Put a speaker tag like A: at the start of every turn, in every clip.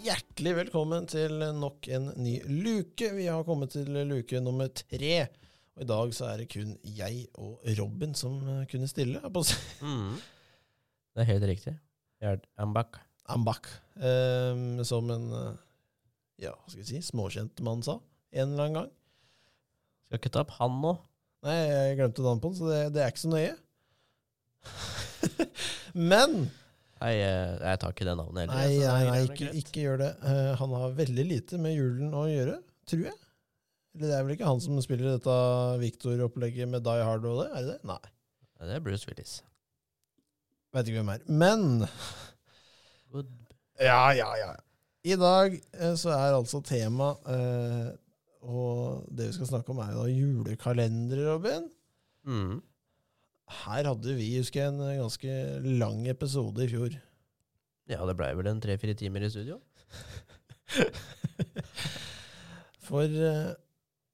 A: Hjertelig velkommen til nok en ny luke. Vi har kommet til luke nummer tre. Og I dag så er det kun jeg og Robin som eh, kunne stille. Jeg på å si.
B: Det er helt riktig. Jeg er- I'm back.
A: I'm back. Ehm, som en eh, ja, hva skal jeg si, småkjent mann sa en eller annen gang.
B: Skal ikke ta opp han nå.
A: Nei, jeg glemte navnet på den, så det, det er ikke så nøye. Men
B: Nei, eh, jeg tar ikke det navnet heller.
A: Nei,
B: så
A: nei, nei
B: det er
A: ikke,
B: greit.
A: ikke gjør det. Eh, han har veldig lite med julen å gjøre, tror jeg. Eller det er vel ikke han som spiller dette Victor-opplegget med Die Hard og det? Er det det? Nei.
B: Nei, Det er Bruce Willis.
A: Veit ikke hvem er. Men
B: Good.
A: Ja, ja, ja. I dag eh, så er altså tema eh, Og det vi skal snakke om, er jo da julekalendere, Robin.
B: Mm.
A: Her hadde vi, husker jeg, en eh, ganske lang episode i fjor.
B: Ja, det blei vel en tre-fire timer i studio.
A: For eh,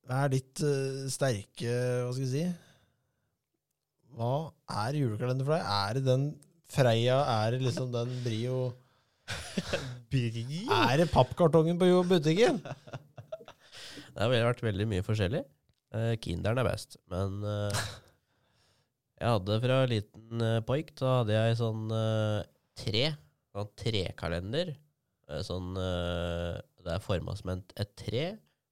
A: hva er ditt eh, sterke Hva skal vi si? Hva er julekalender for deg? Er det den Freia? Er det liksom den Brio?
B: Brio?
A: Er det pappkartongen på jo- butikken?
B: Det har vel vært veldig mye forskjellig. Eh, kinderen er best, men eh, jeg hadde fra liten eh, poik, så hadde jeg sånn eh, tre, sånn trekalender, eh, sånn, eh, det er formet som en- et tre,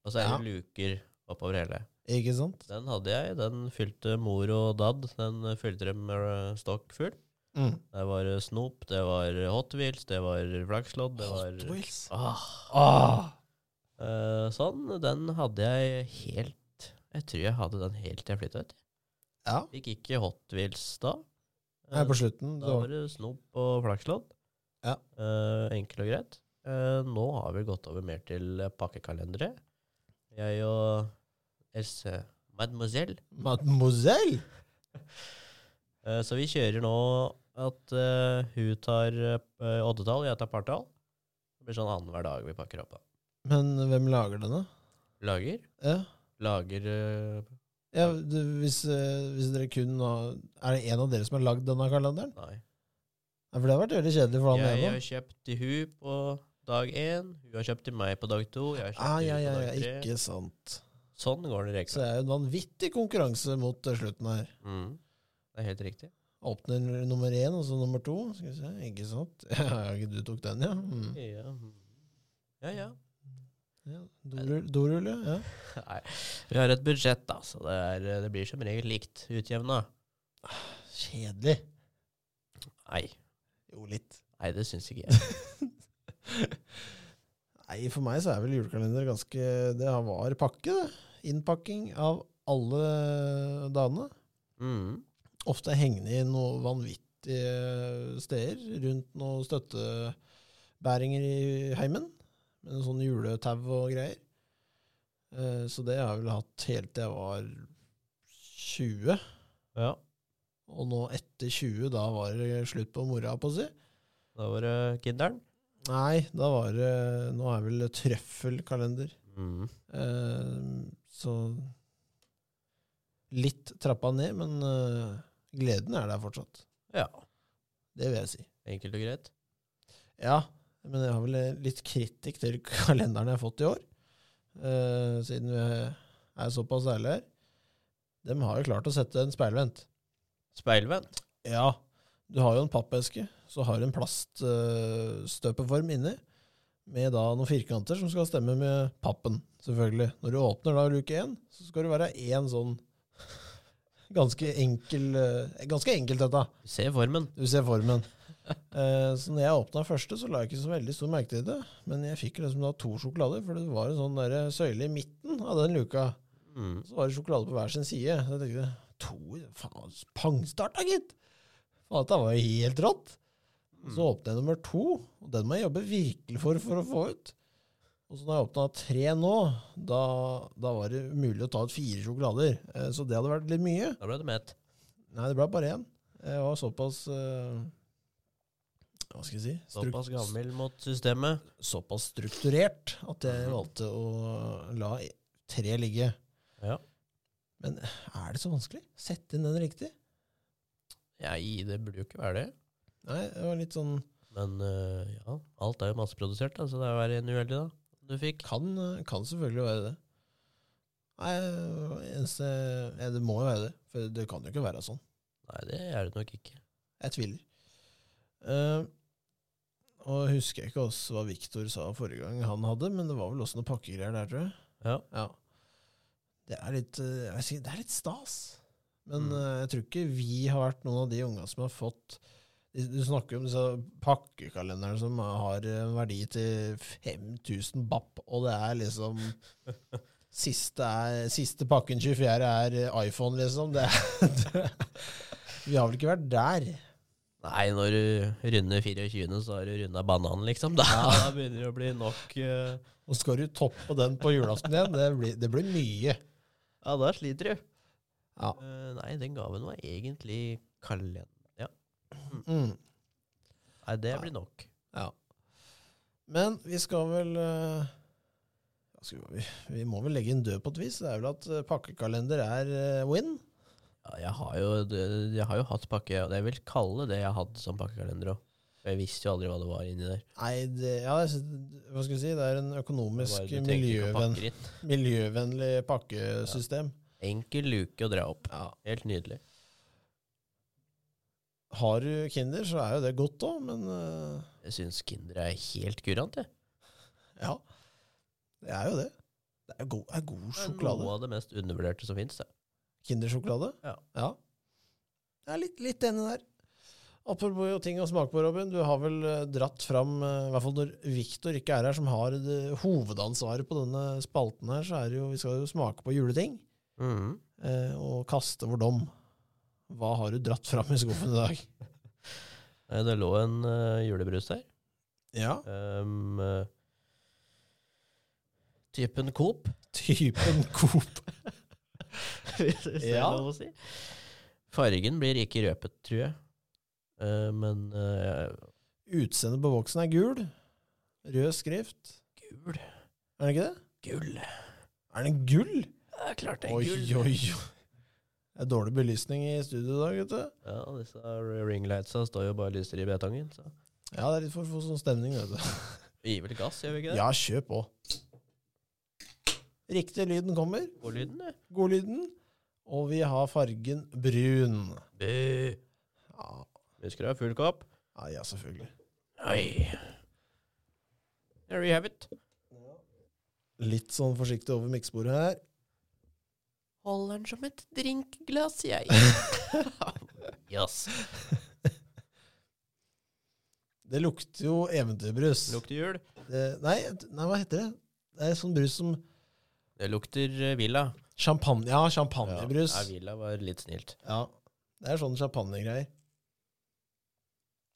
B: og så er det luker oppover hele.
A: Ikke sant?
B: Den hadde jeg, den fylte mor og dad, den eh, fylte dem med eh, stokk full.
A: Mm.
B: Det var eh, snop, det var Hot Wheels, det var flakslodd, det var...
A: Hot Wheels.
B: Ah,
A: Ah.
B: Eh, sånn, den hadde jeg helt Jeg tror jeg hadde den helt til jeg flytta ut.
A: Ja,
B: Fikk ikke Hot Wheels da. Eh,
A: her på slutten.
B: da
A: Det
B: var
A: var,
B: det snop og flakslodd.
A: Ja.
B: Eh, enkelt og greit. Eh, nå har vi gått over mer til eh, pakkekalendere. Jeg og Else Mademoiselle.
A: Mademoiselle!
B: Eh, så vi kjører nå at eh, hun tar eh, oddetall, jeg tar partall. Det blir sånn annenhver dag vi pakker opp. da.
A: Men hvem lager denne?
B: Lager.
A: Ja.
B: Lager eh,
A: Ja, du, hvis, eh, hvis dere kun har Er det en av dere som har lagd denne kalenderen?
B: Nei.
A: Ja, for det har vært veldig kjedelig for han
B: Jeg
A: ene.
B: har kjøpt til hun på dag én, hun har kjøpt til meg på dag to, jeg har kjøpt
A: Ah, ja,
B: til
A: ja,
B: hun på
A: ja,
B: dag tre.
A: ikke sant.
B: Sånn går
A: Så
B: det i rekka.
A: det er jo en vanvittig konkurranse mot eh, slutten her.
B: Mm. Det er helt riktig.
A: Åpner nummer én, og så nummer to. Skal vi se, Ikke sant? Ja, ikke du tok den, ja. Mm.
B: Ja, ja. ja.
A: ja. Dorull- Dorull, ja. ja.
B: Nei. Vi har et budsjett, da, så det, er, eh, det blir som regel likt utjevna.
A: Kjedelig.
B: Nei.
A: Jo, litt.
B: Nei, det syns ikke jeg.
A: Nei, for meg så er vel julekalender ganske Det var pakke, det. Innpakking av alle dagene.
B: Mm.
A: Ofte hengende i noe vanvittige steder rundt noen støttebæringer i heimen. Med noen sånn juletau og greier. Eh, Så det har jeg vel hatt helt til jeg var 20.
B: Ja.
A: Og nå etter 20, da var det slutt på mora, på å si.
B: Da var det Kinderen.
A: Nei, da var det Nå er vel trøffelkalender.
B: Mm.
A: Eh, så litt trappa ned, men eh, gleden er der fortsatt.
B: Ja.
A: Det vil jeg si.
B: Enkelt og greit.
A: Ja, men jeg har vel litt kritikk til kalenderen jeg har fått i år. Eh, siden vi er såpass ærlige her. De har jo klart å sette en speilvendt.
B: Speilvendt.
A: Ja, du har jo en pappeske, så har du en plaststøpeform inni, med da noen firkanter som skal stemme med pappen, selvfølgelig. Når du åpner da luke én, så skal det være én sånn ganske enkel eh, Ganske enkelt, dette.
B: Du ser formen.
A: Du ser formen. Eh, Så når jeg åpna første, så la jeg ikke så veldig stor merke til det. Men jeg fikk liksom da to sjokolader, for det var en sånn der søyle i midten av den luka.
B: Mm.
A: Så var det sjokolade på hver sin side. Så jeg tenkte to faen, pangstart da, gitt! Faen, dette var jo helt rått. Og
B: Mm.
A: Så åpnet jeg nummer to, og den må jeg jobbe virkelig for for å få ut. Og så da jeg åpna tre nå, da, da var det mulig å ta ut fire sjokolader. Eh, Så det hadde vært litt mye.
B: Da ble det mett.
A: Nei, det ble bare én. Jeg var såpass eh, Hva skal jeg si? Struk-
B: Såpass gammel mot systemet.
A: såpass strukturert at
B: Mhm.
A: jeg valgte å la tre ligge.
B: Ja.
A: Men er det så vanskelig? Sette inn den riktig?
B: Nei, det burde jo ikke være det.
A: Nei, det var litt sånn
B: Men eh, ja, alt er jo masseprodusert, da, så det er å være en uheldig, da. Du fikk.
A: Kan, kan selvfølgelig være det. Nei, eneste, ja, det må jo være det. For det kan jo ikke være sånn.
B: Nei, det er det nok ikke.
A: Jeg tviler. Eh, og jeg husker ikke også hva Viktor sa forrige gang han hadde, men det var vel også noen pakkegreier der, tror jeg.
B: Ja.
A: Ja. Det er litt, eh, jeg sier, det er litt stas. Men
B: Mm.
A: eh, jeg tror ikke vi har vært noen av de unga som har fått Du du snakker om disse pakkekalenderne som har en verdi til 5000 bapp, og det er liksom Siste, er, siste pakken 24 er eh, iPhone, liksom. Det, det, vi har vel ikke vært der.
B: Nei, når du runder 24, så har du runda bananen, liksom. Da, da begynner det å bli nok eh,
A: Og skal du toppe den på julaften igjen, det blir, det blir mye.
B: Ja, da sliter du.
A: Ja.
B: Eh, nei, den gaven var egentlig kalender.
A: Mm.
B: Nei, det
A: Nei.
B: blir nok.
A: Ja. Men vi skal vel eh, hva skal vi, vi må vel legge en død på et vis. Det er vel at eh, pakkekalender er eh, win.
B: Ja, jeg, har jo, det- jeg har jo hatt pakke, og jeg vil kalle det jeg hadde som pakkekalender òg. Jeg visste jo aldri hva det var inni der.
A: Nei, det, ja, jeg synes- hva skal vi si? Det er en
B: Det var-
A: økonomisk
B: du trengte ikke å
A: miljøvenn,
B: pakke inn.
A: miljøvennlig pakkesystem.
B: Enkel luke å dra opp.
A: Ja.
B: Helt nydelig.
A: Har du Kinder, så er jo det godt òg, men eh,
B: Jeg syns Kinder er helt kurant, jeg.
A: ja. Det er jo det. Det er god, er god
B: Det er
A: sjokolade.
B: Noe av det mest undervurderte som fins.
A: Kindersjokolade?
B: Ja.
A: Jeg er litt, litt enig der. Apropos ting å smake på, Robin. Du har vel eh, dratt fram, eh, i hvert fall når Viktor ikke er her, som har det hovedansvaret på denne spalten her, så er det jo Vi skal jo smake på juleting
B: Mm.
A: eh, og kaste vår dom. Hva har du dratt fram i skuffen i dag?
B: Eh, Det lå en eh, julebrus der.
A: Ja,
B: Ehm, eh, typen Coop,
A: typen Coop.
B: hvis det er
A: Ja.
B: lov å si. Fargen blir ikke røpet, tror jeg. Eh, men eh,
A: Utseendet på boksen er gul. Rød skrift.
B: gul
A: Er den ikke det?
B: Gull!
A: Er den gull?
B: Det er klart det er
A: Oi,
B: gull!
A: oi, oi. Det er dårlig belysning i studio i dag, vet du.
B: Ja, disse ringlightsa står jo bare og lyser i betongen. Så.
A: Ja, det er litt for å få sånn stemning, vet du.
B: Vi gir vel gass, gjør vi ikke det?
A: Ja, kjør på. Riktig lyden kommer.
B: Går lyden, det?
A: Godlyden. Og vi har fargen brun.
B: Bø!
A: Ja,
B: Husker du å ha full kopp?
A: ja, ja selvfølgelig.
B: Oi. There you have it.
A: Litt sånn forsiktig over miksebordet her.
B: Holder den som et drinkglass, jeg. yes.
A: Det lukter jo eventyrbrus.
B: Lukter jul.
A: Det- nei, nei, hva heter det? Det er sånn brus som
B: Det lukter eh, villa.
A: champagne. Ja, champagnebrus.
B: Ja, nei, villa var litt snilt.
A: Ja, det er sånn champagnegreier.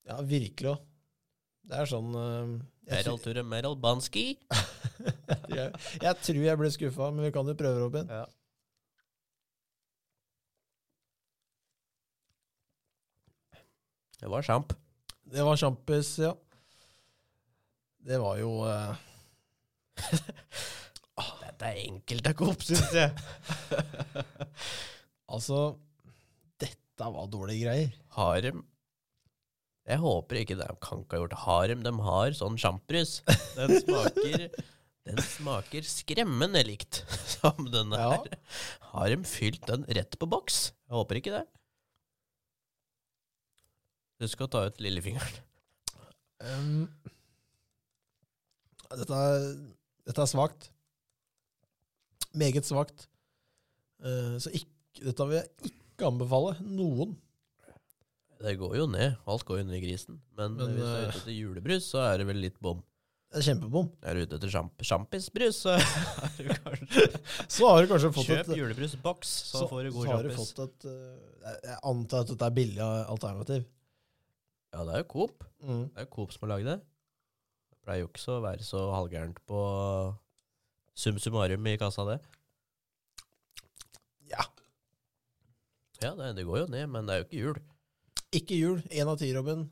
A: Ja, virkelig òg. Det er sånn eh, jeg
B: Meryl Ture Meryl Bansky.
A: jeg, jeg tror jeg ble skuffa, men vi kan jo prøve, Robin.
B: Ja. Det var sjamp.
A: Det var sjampis, ja. Det var jo eh, Ah.
B: Dette er enkelt av Coop, syns jeg.
A: Altså, dette var dårlige greier.
B: Harem. Jeg håper ikke de kan ikke ha gjort harem. De har sånn sjamprus. Den smaker Den smaker skremmende likt som den
A: Ja.
B: her. Har de fylt den rett på boks? Jeg håper ikke det. Husk å ta ut lillefingeren.
A: Um, dette, er, dette er svakt. Meget svakt. Eh, så ikk- dette vil jeg ikke anbefale noen.
B: Det går jo ned. Alt går jo ned i grisen. Men,
A: Men,
B: hvis du er
A: eh,
B: ute etter julebrus, så er det vel litt bom.
A: Det er kjempebom.
B: Er du ute etter sjamp sjampisbrus, så er du kanskje
A: Så har du kanskje fått
B: Kjøp
A: et
B: julebrusboks, så,
A: så-
B: får du
A: så
B: god
A: har du
B: sjampis.
A: fått et eh, jeg- Jeg antar at dette er billig alternativ.
B: Ja, det er jo Coop.
A: Mm.
B: Det er jo Coop som har lagd det. Det pleier jo ikke så å være så halvgærent på sum summarum i kassa, det.
A: Ja.
B: Ja, det, det går jo ned, men det er jo ikke jul.
A: Ikke jul. Én av ti, Robin.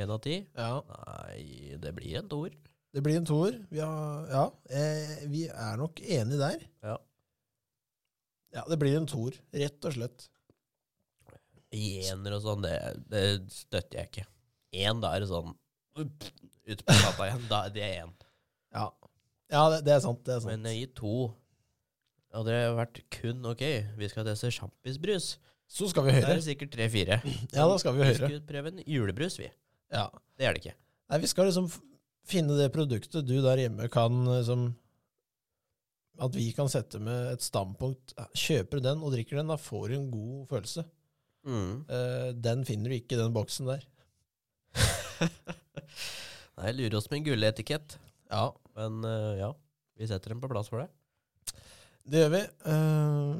B: Én av ti?
A: Ja.
B: Nei, det blir en toer.
A: Det blir en toer. Vi, har, ja, eh, vi er nok enige der.
B: Ja.
A: Ja, det blir en toer, rett og slett.
B: Ener og sånn, det, det støtter jeg ikke. Én, da er det sånn Ut på gata igjen. Da, det er én.
A: Ja, ja det, det er sant. Det er sant.
B: Men eh, i to hadde det vært kun OK, vi skal teste sjampisbrus.
A: så skal vi
B: Det er
A: høre.
B: det sikkert tre-fire.
A: Ja, da skal vi
B: Vi
A: høre.
B: skulle prøve en julebrus, vi.
A: Ja.
B: Det er det ikke.
A: Nei, vi skal liksom f- finne det produktet du der hjemme kan liksom At vi kan sette med et standpunkt. Kjøper du den og drikker den, da får du en god følelse. Eh, den finner du ikke i den boksen der.
B: Nei, lurer oss med en gulletikett.
A: Ja,
B: Men eh, ja, vi setter dem på plass for det.
A: det gjør vi. Eh,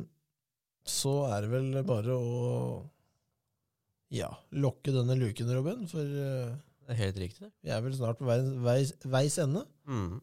A: så er det vel bare å ja, lokke denne luken, Robin, for eh,
B: Det er helt riktig. det.
A: vi er vel snart på veis, veis, veis ende.
B: Mm.